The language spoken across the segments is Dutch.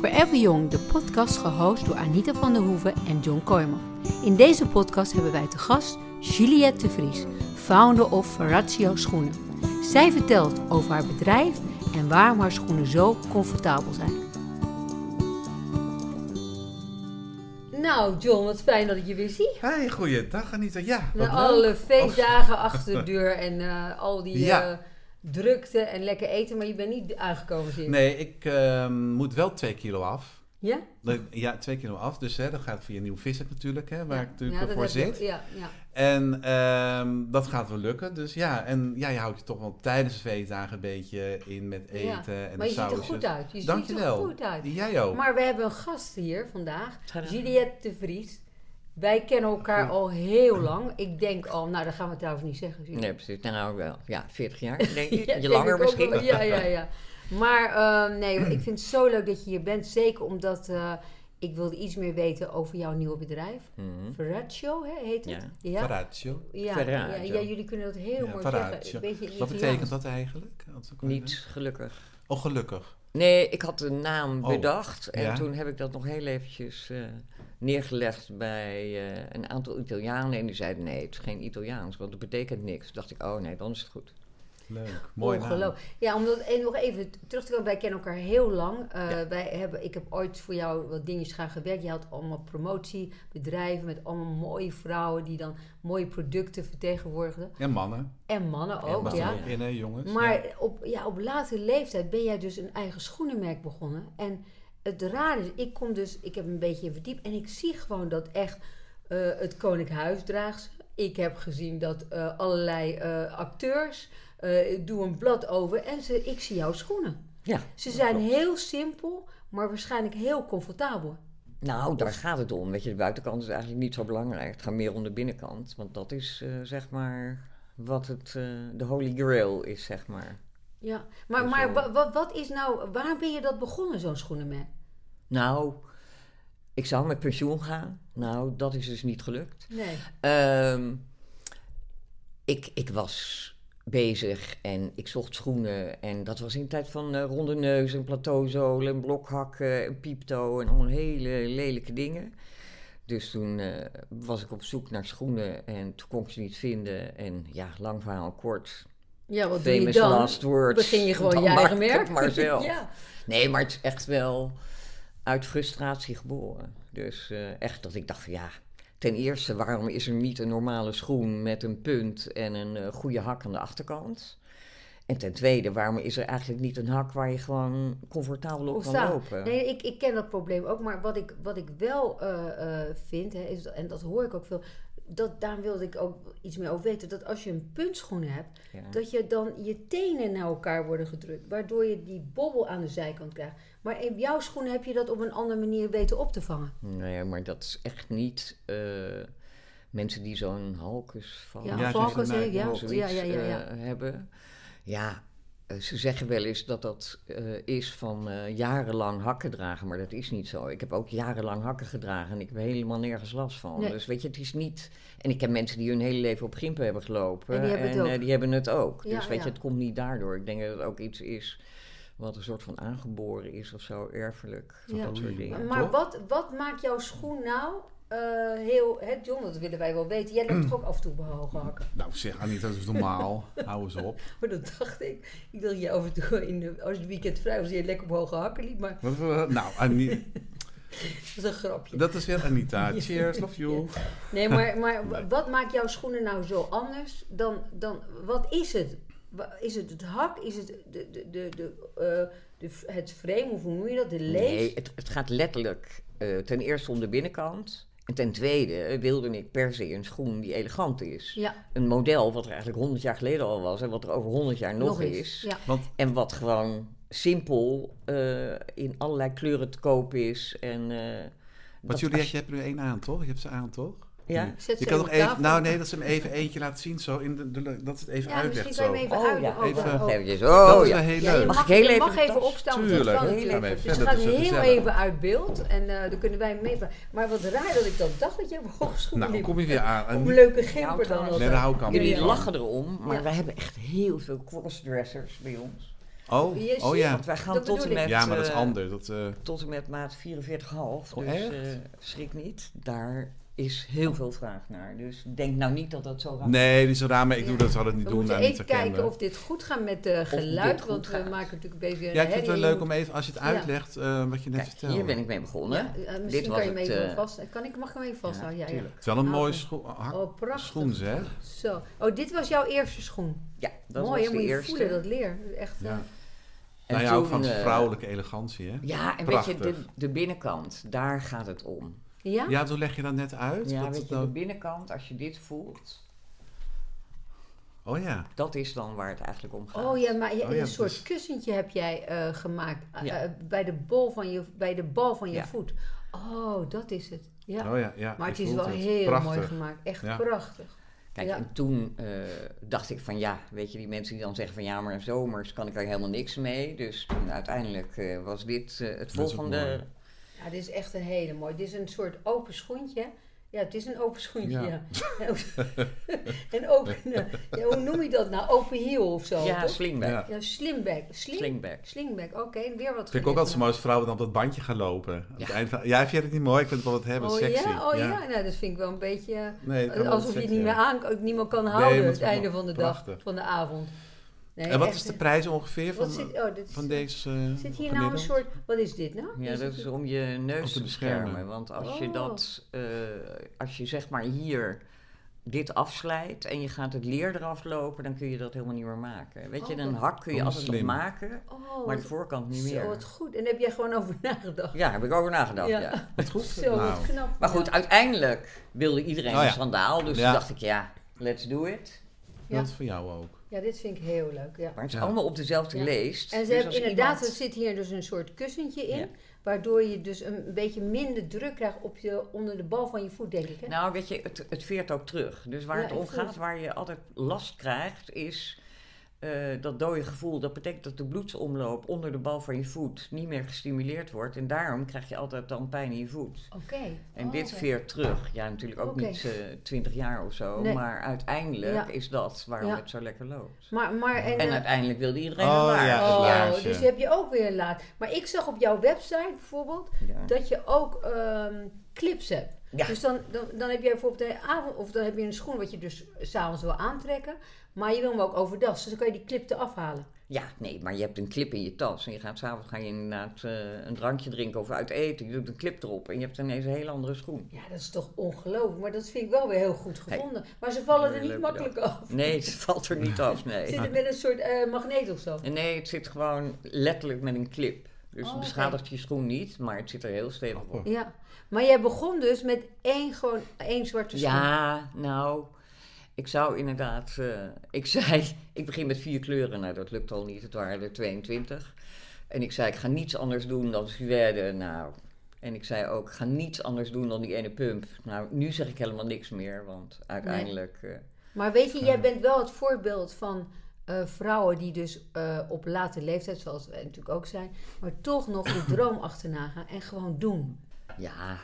Forever Young, de podcast gehost door Anita van der Hoeven en John Kooijman. In deze podcast hebben wij te gast Juliette de Vries, founder of Ferrazio Schoenen. Zij vertelt over haar bedrijf en waarom haar schoenen zo comfortabel zijn. Nou, John, wat fijn dat ik je weer zie. Hey, goeiedag Anita. Ja, Na wat alle leuk. feestdagen achter de deur en eh, al die Ja. eh, drukte en lekker eten, maar je bent niet aangekomen, zie ik. Nee, ik ehm, moet wel twee kilo af. Ja? Dat- Ja, twee kilo af. Dus hè, dat gaat via nieuw vissen natuurlijk, hè, waar Ja. ik natuurlijk Ja, wel dat voor heb je- zit. Ja, ja. En ehm, dat gaat wel lukken. Dus ja, en ja, je houdt je toch wel tijdens de feestdagen een beetje in met Ja, eten en Maar de je ziet er sausjes. goed uit. Je ziet er Dankjewel. goed uit. Jij Oh. ook. Maar we hebben een gast hier vandaag, Gedaan. Juliette de Vries. Wij kennen Hm. elkaar al heel lang. Ik denk al, nou dat gaan we trouwens niet zeggen. Julie. Nee, precies. Nou, wel. Ja, 40 jaar, denk ik. Ja, je denk langer ik ook wel. misschien. Ja, ja, ja. Maar ehm, nee, ik vind het zo leuk dat je hier bent. Zeker omdat eh, ik wilde iets meer weten over jouw nieuwe bedrijf. Mhm. Ferraccio hè, heet het? Ja. Ja. Verratio. Ja, ja, Ferraccio. ja, jullie kunnen dat heel Ja, mooi Ferraccio. zeggen. Beetje Wat Italiaans. betekent dat eigenlijk? Als ik- Niet gelukkig. Oh, gelukkig. Nee, ik had de naam Oh, bedacht en ja. toen heb ik dat nog heel eventjes eh, neergelegd bij eh, een aantal Italianen. En die zeiden nee, het is geen Italiaans, want het betekent niks. Toen dacht ik, oh nee, dan is het goed. Leuk. Mooi naam. Ongelooflijk. Ja, omdat en nog even terug te komen, wij kennen elkaar heel lang. Eh, Ja. wij hebben, ik heb ooit voor jou wat dingetjes gaan gewerkt. Je had allemaal promotiebedrijven met allemaal mooie vrouwen die dan mooie producten vertegenwoordigden. En mannen. En mannen En ook, Mag mannen, ja. er ook in, hè, jongens? Dus Maar op, ja, op late leeftijd ben jij dus een eigen schoenenmerk begonnen. En het rare is, ik kom dus, ik heb me een beetje in verdiept en ik zie gewoon dat echt eh, het Koninklijk Huis draagt ze. Ik heb gezien dat eh, allerlei eh, acteurs, eh, ik doe een blad over en ze, ik zie jouw schoenen. Ja, Ze zijn heel simpel, maar waarschijnlijk heel comfortabel. nou, daar gaat het om. Weet je, de buitenkant is eigenlijk niet zo belangrijk. Het gaat meer om de binnenkant, want dat is eh, zeg maar wat het, eh, de holy grail is, zeg maar. Ja, maar, Dus, maar eh, wa- wa- wat is nou, waar ben je dat begonnen, zo'n schoenenmerk? Nou, ik zou met pensioen gaan. Nou, dat is dus niet gelukt. Nee. Ehm, ik, ik was bezig en ik zocht schoenen. En dat was in de tijd van eh, ronde neus en plateauzolen en blokhakken en piepto en allemaal hele lelijke dingen. Dus toen eh, was ik op zoek naar schoenen en toen kon ik ze niet vinden. En ja, lang verhaal kort. Ja, wat doe je Famous dan? last words. Begin je gewoon Dan je eigen maak ik merk? het maar zelf. ja. Nee, maar het is echt wel uit frustratie geboren. Dus eh, echt dat ik dacht van ja, ten eerste waarom is er niet een normale schoen met een punt en een eh, goede hak aan de achterkant? En ten tweede, waarom is er eigenlijk niet een hak waar je gewoon comfortabel op kan Ontstaan. lopen? Nee, ik, ik ken dat probleem ook. Maar wat ik, wat ik wel eh, eh, vind, hè, is, dat- en dat hoor ik ook veel. Dat, daar wilde ik ook iets meer over weten. Dat als je een puntschoen hebt, Ja. dat je dan je tenen naar elkaar worden gedrukt. Waardoor je die bobbel aan de zijkant krijgt. Maar in jouw schoenen heb je dat op een andere manier weten op te vangen. Nee, maar dat is echt niet eh, mensen die zo'n halkus van Ja, Ja, valkens, zoals hè, je ja, of ja, zoiets ja, ja, ja. eh, hebben. Ja, eh, ze zeggen wel eens dat dat eh, is van eh, jarenlang hakken dragen, maar dat is niet zo. Ik heb ook jarenlang hakken gedragen en ik heb helemaal nergens last van. Nee. Dus weet je, het is niet... En ik ken mensen die hun hele leven op gimpen hebben gelopen En die hebben het ook. eh, die hebben het ook. Ja, dus weet ja. je, het komt niet daardoor. Ik denk dat het ook iets is wat een soort van aangeboren is of zo, erfelijk. van Ja. Dat soort dingen. maar toch? wat, wat maakt jouw schoen nou eh, heel... Hè, John, dat willen wij wel weten. Jij loopt toch ook af en toe op hoge hakken? Nou, zeg Anita, dat is normaal. Hou eens op. Maar dat dacht ik. Ik dacht, je af en toe in de, als het weekend vrij was, je lekker op hoge hakken liep. Maar Wat, wat- nou, Ani- dat is een grapje. dat is weer Anita. Cheers, love you. Nee, maar, maar wa- wat maakt jouw schoenen nou zo anders dan... dan wat is het? Wa- Is het het hak? Is het de, de, de, de, eh, de, f- het frame? Of hoe noem je dat? De lees? Nee, het, het gaat letterlijk eh, ten eerste om de binnenkant. En ten tweede eh, wilde ik per se een schoen die elegant is. Ja, Een model wat er eigenlijk 100 jaar geleden al was en wat er over 100 jaar nog, nog, eens. is. Ja. Want En wat gewoon simpel eh, in allerlei kleuren te koop is. En, eh, wat dat jullie als- je hebt er nu één aan, toch? Je hebt ze aan, toch? Ja. Nu. Zet ze je kan even nog op tafel. even, nou nee, dat ze hem even eentje laat zien, zo, in de, de- dat ze het even ja, misschien uitlegt. kan je hem Zo. even Oh uitleggen. ja, over- even- over- Oh. Eventjes, dat oh is ja. wel heel Ja, je leuk. Mag mag, ik heel je even mag de even tas? opstaan, want Tuurlijk, dat kan heel niet. even Dus verder, het dat gaat is heel wel gezellig. even uit beeld en eh dan kunnen wij meepraten. Maar wat raar dat ik dan dacht dat jij op hogeschool Nou, liep. kom je weer aan. Op een Anita. leuke gimper dan. trouwens. was Nee, dat. daar hou ik allemaal Jullie niet van. lachen erom, maar Ja. wij hebben echt heel veel crossdressers bij ons. Oh, Je oh ziet- ja. Want wij gaan Dat tot en bedoel ik. met... Ja, maar dat is eh, anders. Dat, eh, Tot en met maat 44,5. Oh, Dus echt? eh, schrik niet. Daar is heel veel vraag naar. Dus denk nou niet dat dat zo raar nee, die ramen, ik doe Ja. dat, zou dat niet We doen. moeten daar niet even te kijken kennen. of dit goed gaat met eh dit geluid. goed Want we gaat. maken natuurlijk een beetje Ja, ik vind het wel herrie. leuk om even, als je het Ja. uitlegt, eh, wat je net Kijk, vertelde. hier ben ik mee begonnen. Ja, eh, misschien Dit was kan je hem het, even eh, vast. Kan ik, mag ik hem even vasthouden? Ja, ja, tuurlijk. Het is wel een mooie Ah, schoen, hak- Oh, prachtig. schoen, zeg. Zo. Oh, dit was jouw eerste schoen. Ja, dat Mooi, was hè? de moet je eerste. voelen, dat leer. Echt, eh, Ja. En nou ja, ook toen, van eh, vrouwelijke elegantie, hè? Ja, en weet je, de, Prachtig. de binnenkant, daar gaat het om. ja? Ja, toen leg je dat net uit. Ja, wat weet het je, nou- de binnenkant, als je dit voelt, Oh ja. dat is dan waar het eigenlijk om gaat. Oh ja, maar je- Oh ja, een dat soort is- kussentje heb jij eh, gemaakt eh, Ja. eh, bij, de bol van je, bij de bal van je Ja. voet. Oh, dat is het. Ja. Oh ja, ja. maar het ik is voel wel heel Prachtig. mooi gemaakt. Echt Ja. prachtig. Kijk, Ja. en toen eh, dacht ik van ja, weet je, die mensen die dan zeggen van ja, maar zomers kan ik daar helemaal niks mee. Dus toen uiteindelijk eh, was dit eh, het ook volgende. mooi. Ja, dit is echt een hele mooie. Dit is een soort open schoentje. Ja, het is een open schoentje, Ja. ja. en open, ja, hoe noem je dat nou? Open heel of zo, ja, toch? slingback. Ja. Ja, slimbag. Sling, Slingback. Slingback, oké. Weer wat Ik vind ik ook altijd zo geleerd. mooi als vrouwen dan op dat bandje gaan lopen. Aan het Ja. eind van- ja, vind jij het niet mooi? Ik vind het wel wat hebben, Oh sexy. ja, oh ja. Nou, dat vind ik wel een beetje... eh, Nee, het kan wel Alsof je sexy, het niet meer, ja. aan, ook niet meer kan Nee, houden maar het het is einde wel van de dag, prachtig. van de avond. Nee, En wat echt, is hè. de prijs ongeveer van, Wat zit, oh, dit is- van deze eh, Zit hier nou een gemiddeld? soort... Wat is dit nou? Ja, Is dat het- is om je Om neus te te beschermen. beschermen. Want als je Oh. dat, eh, als je zeg maar hier dit afslijt en je gaat het leer eraf lopen, dan kun je dat helemaal niet meer maken. Weet je, Oh, een dat- hak kun je Oh, altijd nog slim. maken, Oh, maar wat- de voorkant niet Zo, meer. wat goed. En daar heb jij gewoon over nagedacht. Ja, heb ik over nagedacht, Ja. ja. Wat goed. Zo, Nou, wat knap. Maar goed, uiteindelijk wilde iedereen Oh ja. een schandaal, dus Ja. toen dacht ik, ja, let's do it. Ja. dat is voor jou ook. Ja, dit vind ik heel leuk. Ja. Maar het is Ja. allemaal op dezelfde Ja. leest. En ze dus hebben als inderdaad, er iemand- zit hier dus een soort kussentje in. Ja. Waardoor je dus een beetje minder druk krijgt op je, onder de bal van je voet, denk ik. Hè? Nou, weet je, het, het veert ook terug. Dus waar Ja, het ik om voel gaat, het. waar je altijd last krijgt, is eh, dat dode gevoel. Dat betekent dat de bloedsomloop onder de bal van je voet niet meer gestimuleerd wordt. En daarom krijg je altijd dan pijn in je voet. Oké. En Oh, dit oké. veert terug. Ja, natuurlijk ook Oké. niet eh, twintig jaar of zo. Nee. Maar uiteindelijk Ja. is dat waarom Ja. het zo lekker loopt. Maar, maar, en, En eh, uiteindelijk wilde iedereen Oh, een laars. ja, het oh, laarsje. dus heb je ook weer een laag. Maar ik zag op jouw website bijvoorbeeld Ja. dat je ook ehm, clips hebt. Ja. Dus dan, dan, dan heb je bijvoorbeeld een avond, of dan heb je een schoen wat je dus s'avonds wil aantrekken. Maar je wil hem ook overdag, dus dan kan je die clip eraf halen. Ja, nee, maar je hebt een clip in je tas. En je gaat s'avonds ga je inderdaad eh, een drankje drinken of uit eten. Je doet een clip erop en je hebt ineens een hele andere schoen. Ja, dat is toch ongelooflijk. Maar dat vind ik wel weer heel goed gevonden. maar ze vallen er Hele niet leuke makkelijk af. Nee, het valt er niet af, nee. Zit het met een soort eh, magneet of zo? En Nee, het zit gewoon letterlijk met een clip. Dus Oh, het oké. beschadigt je schoen niet, maar het zit er heel stevig op. Ja. Maar jij begon dus met één, gewoon, één zwarte schoen. Ja, nou, ik zou inderdaad... eh, ik zei, ik begin met vier kleuren. Nou, dat lukt al niet. Het waren er 22. En ik zei, ik ga niets anders doen dan suède. Nou, en ik zei ook, ik ga niets anders doen dan die ene pump. Nou, nu zeg ik helemaal niks meer, want uiteindelijk... eh, Maar weet je, jij bent wel het voorbeeld van eh, vrouwen die dus eh, op late leeftijd, zoals wij natuurlijk ook zijn, maar toch nog de droom achterna gaan en gewoon doen. Ja,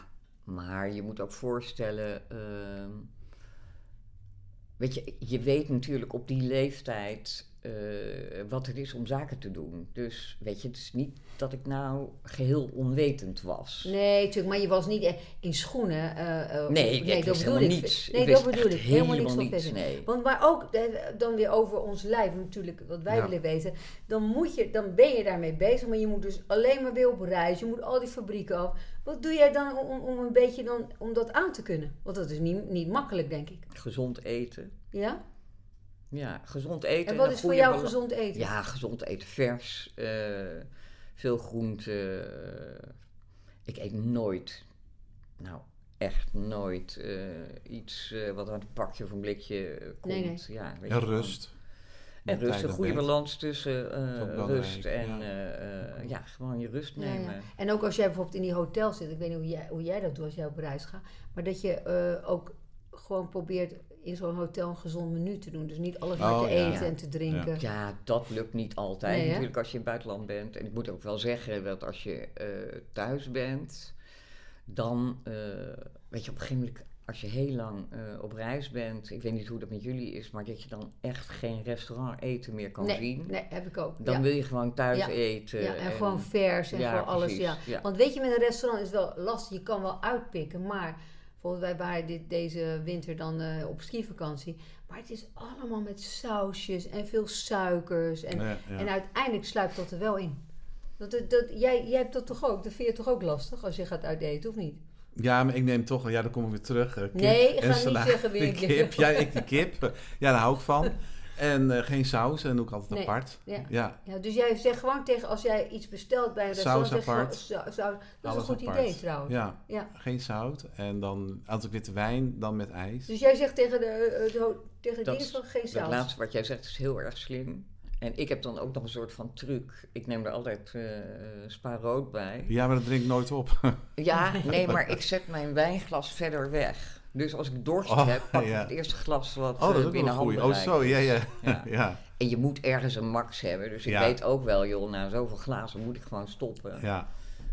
maar je moet ook voorstellen. ehm, weet je, je weet natuurlijk op die leeftijd eh, wat het is om zaken te doen. Dus weet je, het is niet dat ik nou geheel onwetend was. Nee, natuurlijk, maar je was niet eh, in schoenen. eh, eh, Nee, ik- ik wist bedoel helemaal niets. Nee, Ik dat wist bedoel ik. echt Helemaal niks helemaal van niets, deze. nee. Want maar ook eh, dan weer over ons lijf, natuurlijk, wat wij Ja. willen weten. Dan, moet je, dan ben je daarmee bezig, maar je moet dus alleen maar weer op reis. Je moet al die fabrieken af. Wat doe jij dan om, om een beetje dan, om dat aan te kunnen? Want dat is niet, niet makkelijk, denk ik. Gezond eten. Ja? Ja, gezond eten. En wat een is voor goede jou bala- gezond eten? Ja, gezond eten vers. eh, veel groente. ik eet nooit, nou echt nooit, eh, iets eh, wat uit een pakje of een blikje eh, komt. Nee, Ja, weet En je wel. rust. En rust, een goede balans. balans tussen eh, Dat is ook belangrijk, rust en ja. eh, eh, ja, gewoon je rust Ja, ja. nemen. En ook als jij bijvoorbeeld in die hotel zit, ik weet niet hoe jij, hoe jij dat doet als jij op reis gaat, maar dat je eh, ook gewoon probeert in zo'n hotel een gezond menu te doen. Dus niet alles maar Oh, te ja. eten en te drinken. Ja, dat lukt niet altijd. Nee, hè? Natuurlijk als je in het buitenland bent. En ik moet ook wel zeggen dat als je eh, thuis bent, dan eh, weet je op een gegeven moment als je heel lang eh, op reis bent, ik weet niet hoe dat met jullie is, maar dat je dan echt geen restaurant eten meer kan nee, zien. nee, heb ik ook. Dan ja. wil je gewoon thuis Ja. eten. Ja, en, gewoon vers en Ja, gewoon alles. precies, Ja. ja. Want weet je, met een restaurant is wel lastig. Je kan wel uitpikken, maar bijvoorbeeld wij waren dit, deze winter dan eh, op skivakantie. Maar het is allemaal met sausjes en veel suikers. En, Ja, ja. en uiteindelijk sluipt dat er wel in. Dat, dat, dat- jij, jij hebt dat toch ook? Dat vind je toch ook lastig als je gaat uiteten, of niet? Ja, maar ik neem toch, ja, dan kom ik weer terug. eh, kip Nee, ik en ga niet salade. zeggen wie Die ik ben. kip. Ja, ik die kip. Ja, daar hou ik van. En eh, geen saus, en doe ik altijd Nee, apart. ja. ja. Ja, dus jij zegt gewoon tegen, als jij iets bestelt bij een Saus restaurant... zeg je gewoon, apart. sa- saus- dat is alles een goed apart. idee trouwens. Ja, Ja. geen zout. En dan een aantal witte wijn, dan met ijs. Dus jij zegt tegen de, eh, de ho- tegen Dat de dienst van geen Dat saus. laatste wat jij zegt is heel erg slim. En ik heb dan ook nog een soort van truc. Ik neem er altijd eh spa rood bij. Ja, maar Oh, dat drink ik nooit op. Ja, nee, maar ik zet mijn wijnglas verder weg. Dus als ik dorst Oh, heb, pak ik ja. het eerste glas wat Oh, dat is ook eh, wel een binnen goeie. handen Oh, zo, ja, ja. Ja. Ja, En je moet ergens een max hebben. Dus ik Ja. weet ook wel, joh, na zoveel glazen moet ik gewoon stoppen. ja.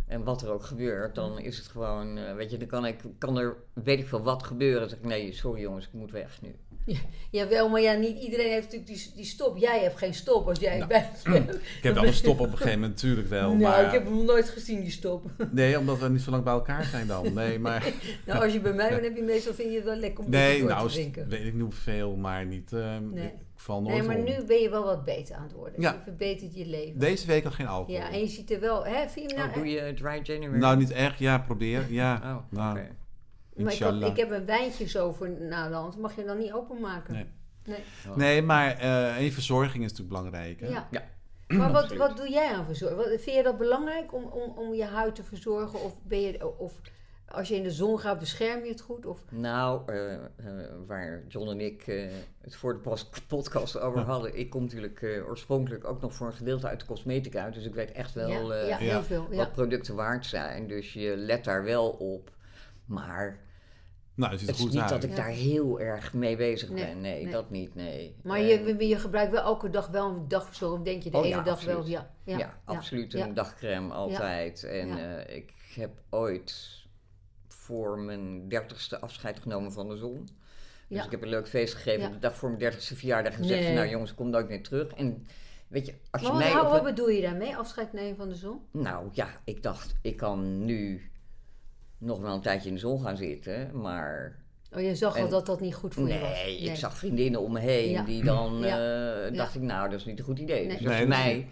En wat er ook gebeurt, dan is het gewoon, eh, weet je, dan kan, ik, kan er weet ik veel wat gebeuren. Dan zeg ik, nee, sorry jongens, ik moet weg nu. Jawel, maar ja, niet iedereen heeft natuurlijk die, die stop. Jij hebt geen stop als jij Nou, bij Ik heb wel een stop op een gegeven moment, natuurlijk wel. Nou, maar, ik heb hem nog nooit gezien, die stop. Nee, omdat we niet zo lang bij elkaar zijn dan. Nee, maar... nou, als je bij mij bent, heb je meestal vind je het wel lekker om Nee, door nou, te drinken. weet ik niet hoeveel, maar niet... eh, Nee. Ik val nooit Nee, maar om. nu ben je wel wat beter aan het worden. Ja. Je verbetert je leven. Deze week al geen alcohol. ja, en je ziet er wel, hè, vind je hem Nou, nou... doe je dry January? Nou, niet echt. Ja, probeer. Ja, Oh, oké. nou, maar ik, had- inshallah. ik heb een wijntje zo voor na de hand, mag je dan niet openmaken? Nee. Nee. Nee, maar eh en je verzorging is natuurlijk belangrijk. Hè? Ja. Ja. Maar wat, Absoluut. wat doe jij aan verzorging? Wat- Vind je dat belangrijk om, om, om je huid te verzorgen? Of, ben je, of als je in de zon gaat, bescherm je het goed? Of, Nou, eh, eh, waar John en ik eh, het voor de pas- podcast over hadden. Ik kom natuurlijk eh, oorspronkelijk ook nog voor een gedeelte uit de cosmetica uit. Dus ik weet echt wel ja, eh, ja, ja. heel veel. Ja. wat producten waard zijn. Dus je let daar wel op. Maar Nou, het ziet er het is goed niet uit. dat ik Ja. daar heel erg mee bezig Nee, ben. Nee, nee. dat niet, nee. Maar Eh, je, je gebruikt wel elke dag wel een dagverzorging, denk je? De Oh ene ja, dag absoluut. wel, ja. Ja, absoluut een ja. dagcreme altijd. En ja. eh, ik heb ooit voor mijn dertigste afscheid genomen van de zon. Dus Ja. ik heb een leuk feest gegeven Ja. op de dag voor mijn dertigste verjaardag. En gezegd, Nee. nou jongens, kom dan ook weer terug. En weet je, als je Maar wat, mij hou- op wat een- bedoel je daarmee? Afscheid nemen van de zon? Nou ja, ik dacht, ik kan nu nog wel een tijdje in de zon gaan zitten. Maar Oh, je zag al En- dat dat niet goed voor nee, je was. ik zag vriendinnen om me heen Ja. die dan Ja. eh, Ja. dacht ik, nou dat is niet een goed idee. Nee. Dus als Nee, je dat is mij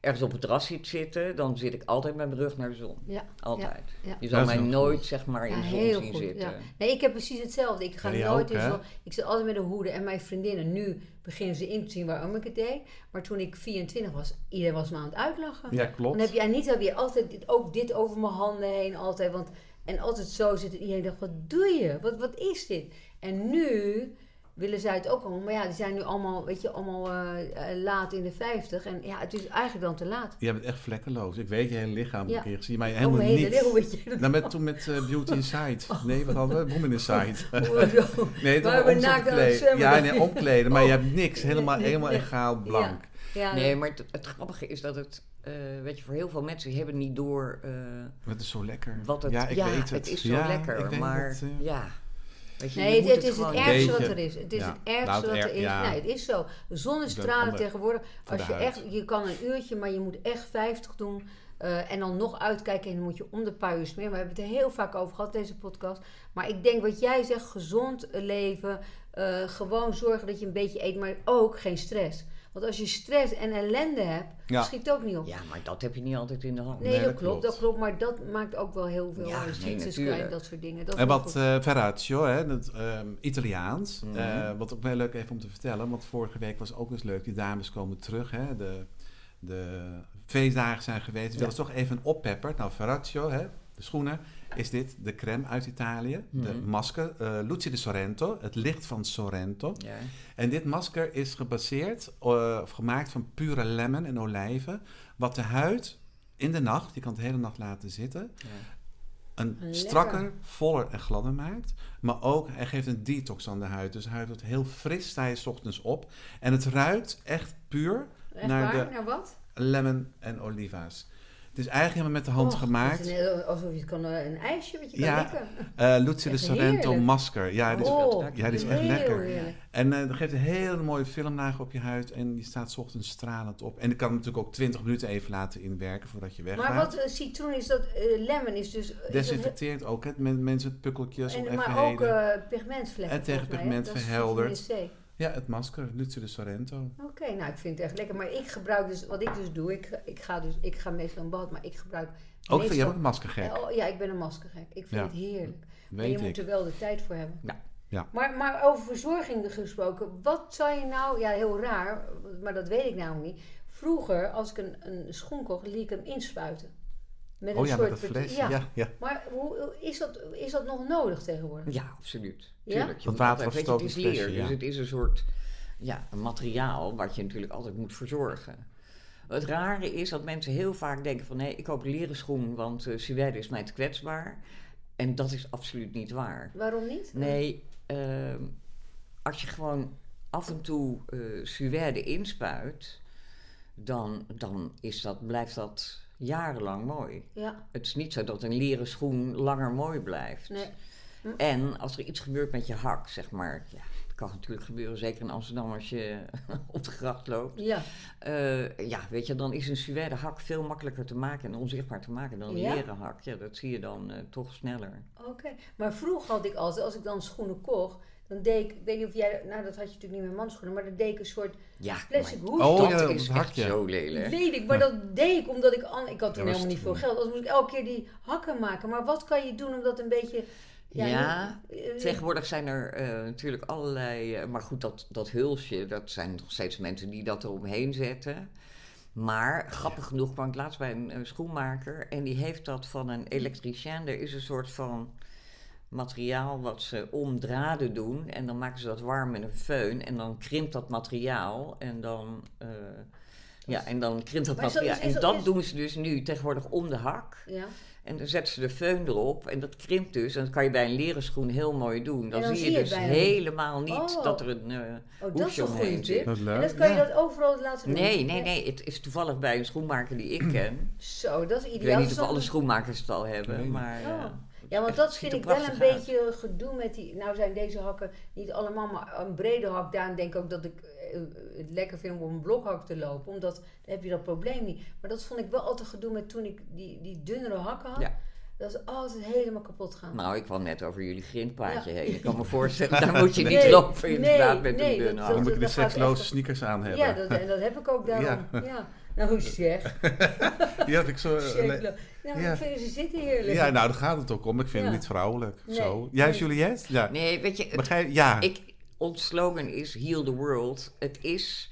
ergens op het terras ziet zitten, dan zit ik altijd met mijn rug naar de zon. Ja, Altijd. ja, ja. Je Dat zal is mij heel nooit zeg maar in Ja, de zon heel zien goed. zitten. Ja. Nee, ik heb precies hetzelfde. Ik ga Ja, jij nooit ook, in de hè? zon. Ik zit altijd met een hoede. En mijn vriendinnen, nu beginnen ze in te zien waarom ik het deed. Maar toen ik 24 was, iedereen was me aan het uitlachen. Ja, klopt. Dan heb je Anita weer altijd dit- ook dit over mijn handen heen. Altijd, want, en altijd zo zit het. Iedereen dacht, wat doe je? Wat, wat is dit? En nu willen zij het ook allemaal. Maar ja, die zijn nu allemaal, weet je, allemaal eh, eh, laat in de 50. En ja, het is eigenlijk dan te laat. Jij bent echt vlekkeloos. Ik weet je hele lichaam Ja. een keer gezien, maar je Oh, helemaal mijn hele Oh. niets. leeuw, weet je. Dat- Nou, met, toen met eh, Beauty Inside. Nee, wat hadden we? Woman Oh, Inside. Hoezo? Nee, Maar toen we we naakt aan het omkleden. zwemmen. Ja, nee, omkleden. Maar je hebt niks. Nee, Helemaal, nee, helemaal nee. egaal blank. Ja, Nee, maar het, het grappige is dat het, eh, weet je, voor heel veel mensen die hebben niet door eh, Maar het is zo lekker. wat het, ja, ik weet het. is zo Ja, ik lekker. weet Maar het, eh. ja, weet je, je Nee, het, moet het is het gewoon- ergste ergste wat Beetje. er is. Het is Ja. het ergste Nou, het wat erg- er is. ja. Nee, het is zo. Zonnestralen ander- tegenwoordig. voor Als de je, huid. echt, je kan een uurtje, maar je moet echt 50 doen. Eh, en dan nog uitkijken en dan moet je om de paar uur smeren. We hebben het er heel vaak over gehad, deze podcast. Maar ik denk wat jij zegt, gezond leven. eh, gewoon zorgen dat je een beetje eet, maar ook geen stress. Want als je stress en ellende hebt, Ja. schiet het ook niet op. Ja, maar dat heb je niet altijd in de hand. Nee, Nee, dat, dat klopt, klopt. dat klopt. Maar dat maakt ook wel heel veel Ja, ja, nee, klein, natuurlijk. dat soort dingen. Dat En is wat goed. eh Ferraccio, hè, dat ehm, Italiaans, eh, wat ook wel leuk even om te vertellen, want vorige week was ook eens leuk, die dames komen terug, hè, de, de feestdagen zijn geweest, we wilden toch even een oppepper. Nou, Ferraccio, hè, de schoenen, is dit de crème uit Italië, de Mhm. masker, eh Luci di Sorrento, het licht van Sorrento. Ja. En dit masker is gebaseerd eh, of gemaakt van pure lemon en olijven, wat de huid in de nacht, je kan het de hele nacht laten zitten, Ja. een Lekker. strakker, voller en gladder maakt. Maar ook, hij geeft een detox aan de huid. Dus de huid wordt heel fris, sta je 's ochtends op. En het ruikt echt puur Echt eh, naar waar? de- Naar wat? lemon en oliva's. Het is eigenlijk helemaal met de hand Och, gemaakt. het is net alsof je het kan, eh, een ijsje wat je kan Ja, likken. Eh Lucia de Echt Sorrento heerlijk. Masker. Ja, dit is, Oh, ja, dit is echt heel lekker. heerlijk. En eh, dat geeft een hele mooie filmlaag op je huid. En je staat 's ochtends stralend op. En ik kan hem natuurlijk ook 20 minuten even laten inwerken voordat je weggaat. Maar wat eh, citroen is dat, eh, lemon is dus... is dat- Desinfecteert ook het men- mensen pukkeltjes en, en maar evenheden. ook eh pigmentvlekken. En tegen volgens mij, hè? pigment Dat is verhelderd. vitamine C. ja, het masker, Lucio de Sorrento. Oké, nou ik vind het echt lekker. Maar ik gebruik dus, wat ik dus doe, ik, ik, ga, dus, ik ga meestal een bad, maar ik gebruik Ook meestal... van, jij bent een maskergek, Ja, oh, ja, ik ben een maskergek. Ik vind Ja. het heerlijk. maar je weet moet ik. er wel de tijd voor hebben. Ja. Ja. Maar, maar over verzorging dus gesproken, wat zou je nou, ja heel raar, maar dat weet ik namelijk niet. Vroeger, als ik een, een schoen kocht, liet ik hem inspuiten. Met Oh ja, met soort dat pet- fles. Ja. Ja. Ja, Maar hoe, is, dat, is dat nog nodig tegenwoordig? Ja, absoluut. Ja? Tuurlijk. je Dat moet water altijd- was weet het je, ook Het is een flesje, leer, dus ja. het is een soort ja, een materiaal wat je natuurlijk altijd moet verzorgen. Het rare is dat mensen heel vaak denken van... nee, ik koop een leren schoen, want eh suède is mij te kwetsbaar. En dat is absoluut niet waar. Waarom niet? Nee, ehm, als je gewoon af en toe eh suède inspuit... dan, dan is dat, blijft dat jarenlang mooi. Ja, Het is niet zo dat een leren schoen langer mooi blijft. nee. En als er iets gebeurt met je hak, zeg maar. Ja, dat kan natuurlijk gebeuren, zeker in Amsterdam als je op de gracht loopt. Ja, Eh, ja, weet je, dan is een suède hak veel makkelijker te maken en onzichtbaar te maken dan een Ja? leren hak. Ja, dat zie je dan eh, toch sneller. oké. Maar vroeger had ik altijd, als ik dan schoenen kocht, dan deed ik, ik weet niet of jij, nou dat had je natuurlijk niet met manschoenen, maar dan deed ik een soort Ja, plastic maar hoesje. Oh, dat ja, dat is echt hakje. zo lelijk. Weet ik, maar dat deed ik omdat ik an, ik had toen Ja, was helemaal niet veel toen. geld. Anders moest ik elke keer die hakken maken. Maar wat kan je doen om dat een beetje. Ja, niet- eh, Tegenwoordig zijn er eh, natuurlijk allerlei. eh, maar goed, dat, dat hulsje, dat zijn nog steeds mensen die dat eromheen zetten. Maar grappig genoeg kwam ik laatst bij een, eh, schoenmaker en die heeft dat van een elektricien. Er is een soort van materiaal wat ze om draden doen en dan maken ze dat warm met een föhn en dan krimpt dat materiaal en dan. eh, ja, en dan krimpt dat Maar is dat- materiaal. is- is en dat- dat is- doen ze dus nu tegenwoordig om de hak. ja. En dan zetten ze de föhn erop en dat krimpt dus. En dat kan je bij een leren schoen heel mooi doen. Dan, En dan zie zie je je dus het bijna niet. helemaal niet Oh. dat er een eh, Oh, dat is hoesje een goede omheen tip. zit. Dat is En leuk. dan kan Ja. je dat overal laten doen. Nee, nee, Ja. nee. Het is toevallig bij een schoenmaker die ik ken. Zo, dat is ideaal. Ik weet niet Dat of is alle dan- schoenmakers het al Nee. hebben, maar... eh, Oh. Ja, want het dat ziet vind er ik wel een prachtig uit. beetje gedoe met die. Nou zijn deze hakken niet allemaal, maar een brede hak. Daarom denk ik ook dat ik eh, het lekker vind om op een blokhak te lopen. Omdat dan heb je dat probleem niet. Maar dat vond ik wel altijd gedoe met toen ik die, die dunnere hakken had. Ja. Dat is altijd helemaal kapot gaan. Nou, ik kwam net over jullie grindpaadje Ja. heen. Ik kan me voorstellen, daar moet je Nee. niet lopen Nee, inderdaad met nee, een dunne dat- hak. Dan moet je dat de gaat seksloze echt- sneakers aan hebben. ja, dat, en dat heb ik ook daarom. Ja. Nou, zeg. Die had ik zo... Shapelook. Nou, ja. ik vind ze zitten heerlijk. Ja, nou, daar gaat het ook om. Ik vind Ja. het niet vrouwelijk. Nee. Zo. Jij, Nee. Juliette? Ja. Nee, weet je, het Begrijp Ja. Ik, ons slogan is Heal the World. Het is,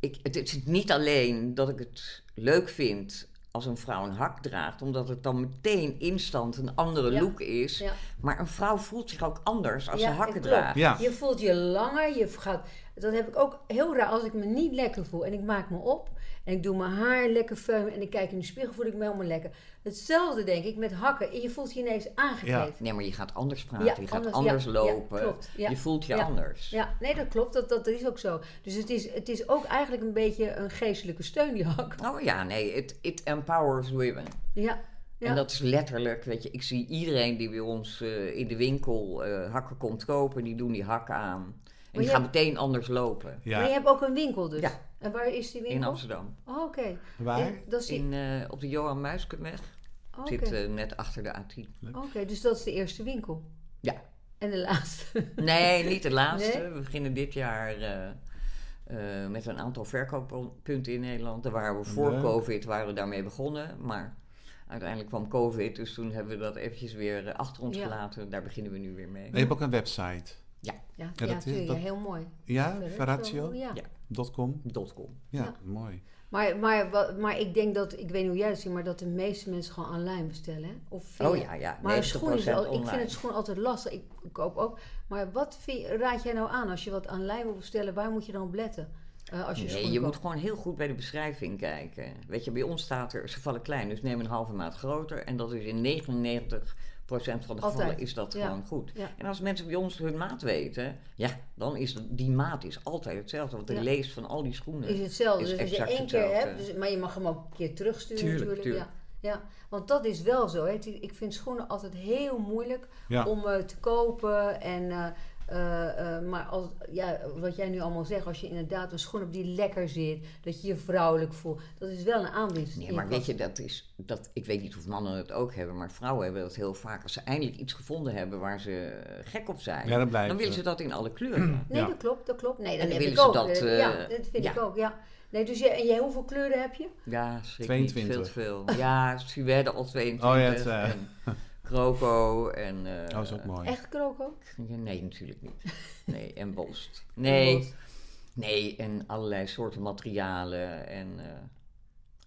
ik, het is niet alleen dat ik het leuk vind als een vrouw een hak draagt, omdat het dan meteen instant een andere Ja. look is. Ja. Maar een vrouw voelt zich ook anders als Ja, ze hakken klopt. draagt. Ja. Je voelt je langer, je gaat... Dat heb ik ook heel raar als ik me niet lekker voel. En ik maak me op en ik doe mijn haar lekker feumen en ik kijk in de spiegel, voel ik me helemaal lekker. Hetzelfde denk ik met hakken. Je voelt je ineens aangekleed. Nee, maar je gaat anders praten, Ja, je gaat anders, anders, ja, ja, lopen. klopt, ja. Je voelt je Ja. anders. Ja. nee, dat klopt. Dat, dat is ook zo. Dus het is, het is ook eigenlijk een beetje een geestelijke steun, die hak. Oh ja, nee, it, it empowers women. Ja, ja. En dat is letterlijk, weet je, ik zie iedereen die bij ons eh, in de winkel eh, hakken komt kopen, die doen die hakken aan. En die je gaan hebt- meteen anders lopen. ja. Maar je hebt ook een winkel dus. Ja. En waar is die winkel? In Amsterdam. Oh, oké. Waar? En Dat is die- In, eh, op de Johan Muiskenweg. Oh, Oké, Zit eh, net achter de A10. Oké, dus dat is de eerste winkel. Ja. En de laatste. Nee, niet de laatste. Nee? We beginnen dit jaar eh, eh, met een aantal verkooppunten in Nederland. Daar waren we voor Leuk. COVID waren we daarmee begonnen. Maar uiteindelijk kwam COVID. Dus toen hebben we dat eventjes weer eh, achter ons Ja. gelaten. Daar beginnen we nu weer mee. Je hebt ook een website. Ja, ja, dat is- tuurlijk, dat- ja heel mooi. Ja, Verrecht, Verratio. zo, Ja. Ja. .com. Dotcom. Ja, Ja. mooi. Maar, maar, wa- maar ik denk dat, ik weet niet hoe jij dat ziet, maar dat de meeste mensen gewoon online bestellen. Hè? Of via- Oh ja, ja. Maar een 90% schoen is al, ik vind online. het schoen altijd lastig. Ik koop ook. Maar wat vind- raad jij nou aan als je wat online wil bestellen? Waar moet je dan op letten? eh, als je Nee, schoenen je koopt? moet gewoon heel goed bij de beschrijving kijken. Weet je, bij ons staat er, ze vallen klein, dus neem een halve maat groter. En dat is in 99% van de gevallen Altijd, is dat ja. gewoon goed. Ja. En als mensen bij ons hun maat weten, ja, dan is dat- die maat is altijd hetzelfde. Want de Ja. lees van al die schoenen is hetzelfde. is dus als je exact één keer hetzelfde. hebt, dus, maar je mag hem ook een keer terugsturen Tuurlijk, natuurlijk. tuurlijk. Ja. Ja, want dat is wel zo. Hè. Het is- Ik vind schoenen altijd heel moeilijk Ja. om eh, te kopen. En, eh, eh, eh, maar als, ja, wat jij nu allemaal zegt, als je inderdaad een schoen hebt die lekker zit, dat je je vrouwelijk voelt, dat is wel een aanwinst. Nee, maar weet je, dat is, dat, ik weet niet of mannen het ook hebben, maar vrouwen hebben dat heel vaak. Als ze eindelijk iets gevonden hebben waar ze eh, gek op zijn, Ja, dan blijven dan willen ze. ze dat in alle kleuren. Nee, Ja. dat klopt, dat klopt. Nee, dat En heb willen ik ze ook. dat, Eh, eh, ja, dat vind ja. ik ook, ja. Nee, dus je, en jij, hoeveel kleuren heb je? ja, schrik niet, 22. veel te veel. Ja, Suède al 22 Oh ja, het, eh. Oh, en Croco en... eh, Dat is ook mooi. Echt kroko? ja, nee, natuurlijk niet. Nee, en Bost. Nee, Los. nee, en allerlei soorten materialen en eh,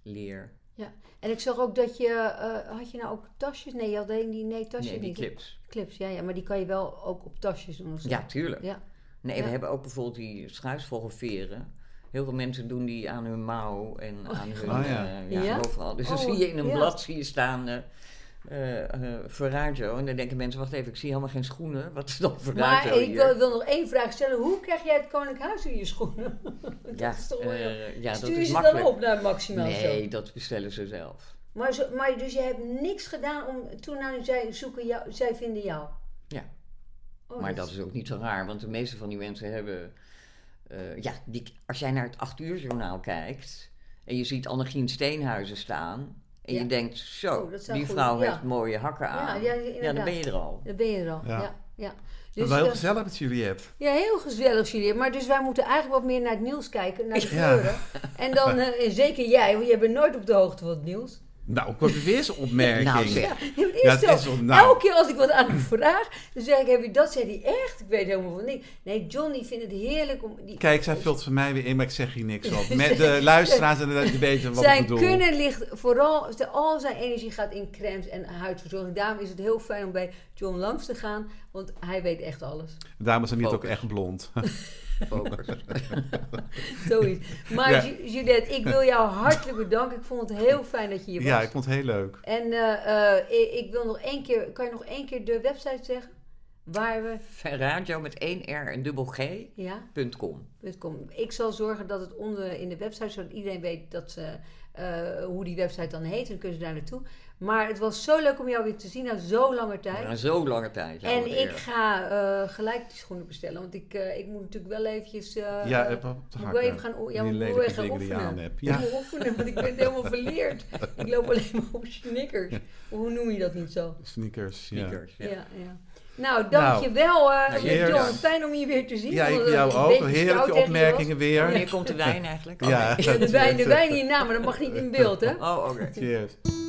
leer. Ja. En ik zag ook dat je, eh, had je nou ook tasjes? Nee, je had alleen die, nee, tasjes Nee, die niet. clips. Clips, ja, ja, maar die kan je wel ook op tasjes doen of zo. Ja, tuurlijk. Ja. Nee, Ja. we hebben ook bijvoorbeeld die schuisvogelveren. Heel veel mensen doen die aan hun mouw en aan hun... Oh, ja. eh, ja, Ja? overal. Dus dan Oh, zie je in een ja. blad zie je staan... eh eh, eh, Ferragio. En dan denken mensen, wacht even, ik zie helemaal geen schoenen. Wat is dan Maar Ferragio ik hier? wil, wil nog één vraag stellen. Hoe krijg jij het Koninklijk Huis in je schoenen? ja, is toch eh, ja, dat Stuur je is ze makkelijk. dan op naar Maximaal nee, dat bestellen ze zelf. Maar, zo, maar dus je hebt niks gedaan om... Toen nou, zij, zoeken jou, zij vinden jou. Ja. Oh, Maar dat is ook niet zo raar, want de meeste van die mensen hebben... eh, ja, die, als jij naar het 8 uur journaal kijkt en je ziet Annegien Steenhuizen staan... en Ja. je denkt, zo, Oh, dat zou die goed- vrouw ja. heeft mooie hakken aan. ja, Ja, dan inderdaad. ben je er al. Daar ben je er al. Ja. Ja. Ja, Dat Dus, is wel heel eh, gezellig met Juliette. ja, heel gezellig, Julia. Maar dus wij moeten eigenlijk wat meer naar het nieuws kijken, naar de Ja. kleuren. En dan, eh, en zeker jij, want jij bent nooit op de hoogte van het nieuws. Nou, ik heb weer zo'n opmerking. Nou zeg, Ja, het is Ja, het zo. is zo. Nou. Elke keer als ik wat aan hem vraag, dan zeg ik, heb je dat? Zei hij, echt? Ik weet helemaal van niks. Nee, John die vindt het heerlijk om... Die, Kijk, zij vult voor mij weer in, maar ik zeg hier niks op. Met de luisteraars en de weten wat ik zijn bedoel. kunnen ligt vooral, de- al zijn energie gaat in crèmes en huidverzorging. Daarom is het heel fijn om bij John langs te gaan, want hij weet echt alles. Daarom is hij niet Oh. ook Focus. echt blond. focus. Zoiets. Maar Ja. Ju- Juliette, ik wil jou hartelijk bedanken. Ik vond het heel fijn dat je hier was. Ja, ik vond het heel leuk. En eh, eh, ik, ik wil nog één keer, kan je nog één keer de website zeggen? Waar we, Ferragio met 1 R en dubbel G. ja, punt com. het komt. ik zal zorgen dat het onder in de website, zodat iedereen weet dat ze, eh, hoe die website dan heet. En dan kunnen ze daar naartoe. Maar het was zo leuk om jou weer te zien na zo'n lange tijd. Na zo'n lange tijd. nou ja, En wat ik erg. ga eh, gelijk die schoenen bestellen. Want ik, eh, ik moet natuurlijk wel eventjes... eh, ja, eh, op de moet ik hakken. wel even gaan, oe- ja, eh, die moet ik lelijke wel gaan dingen die je oefenen. aan hebt. Ik Ja. moet oefenen, want ik ben helemaal verleerd. Ik loop alleen maar op snickers. Hoe noem je dat niet zo? Sneakers. Ja. Sneakers, Ja, ja. ja. Nou, dankjewel eh Nou, John. heerlijk. Fijn om je weer te zien. ja, want, ik eh, jou een beetje ook. Heerlijke stout tegen je was. opmerkingen weer. Wanneer komt de wijn eigenlijk? Oh, Ja. nee. Ja, de wijn, de wijn hierna, maar dat mag niet in beeld, hè? Oh, oké. Cheers.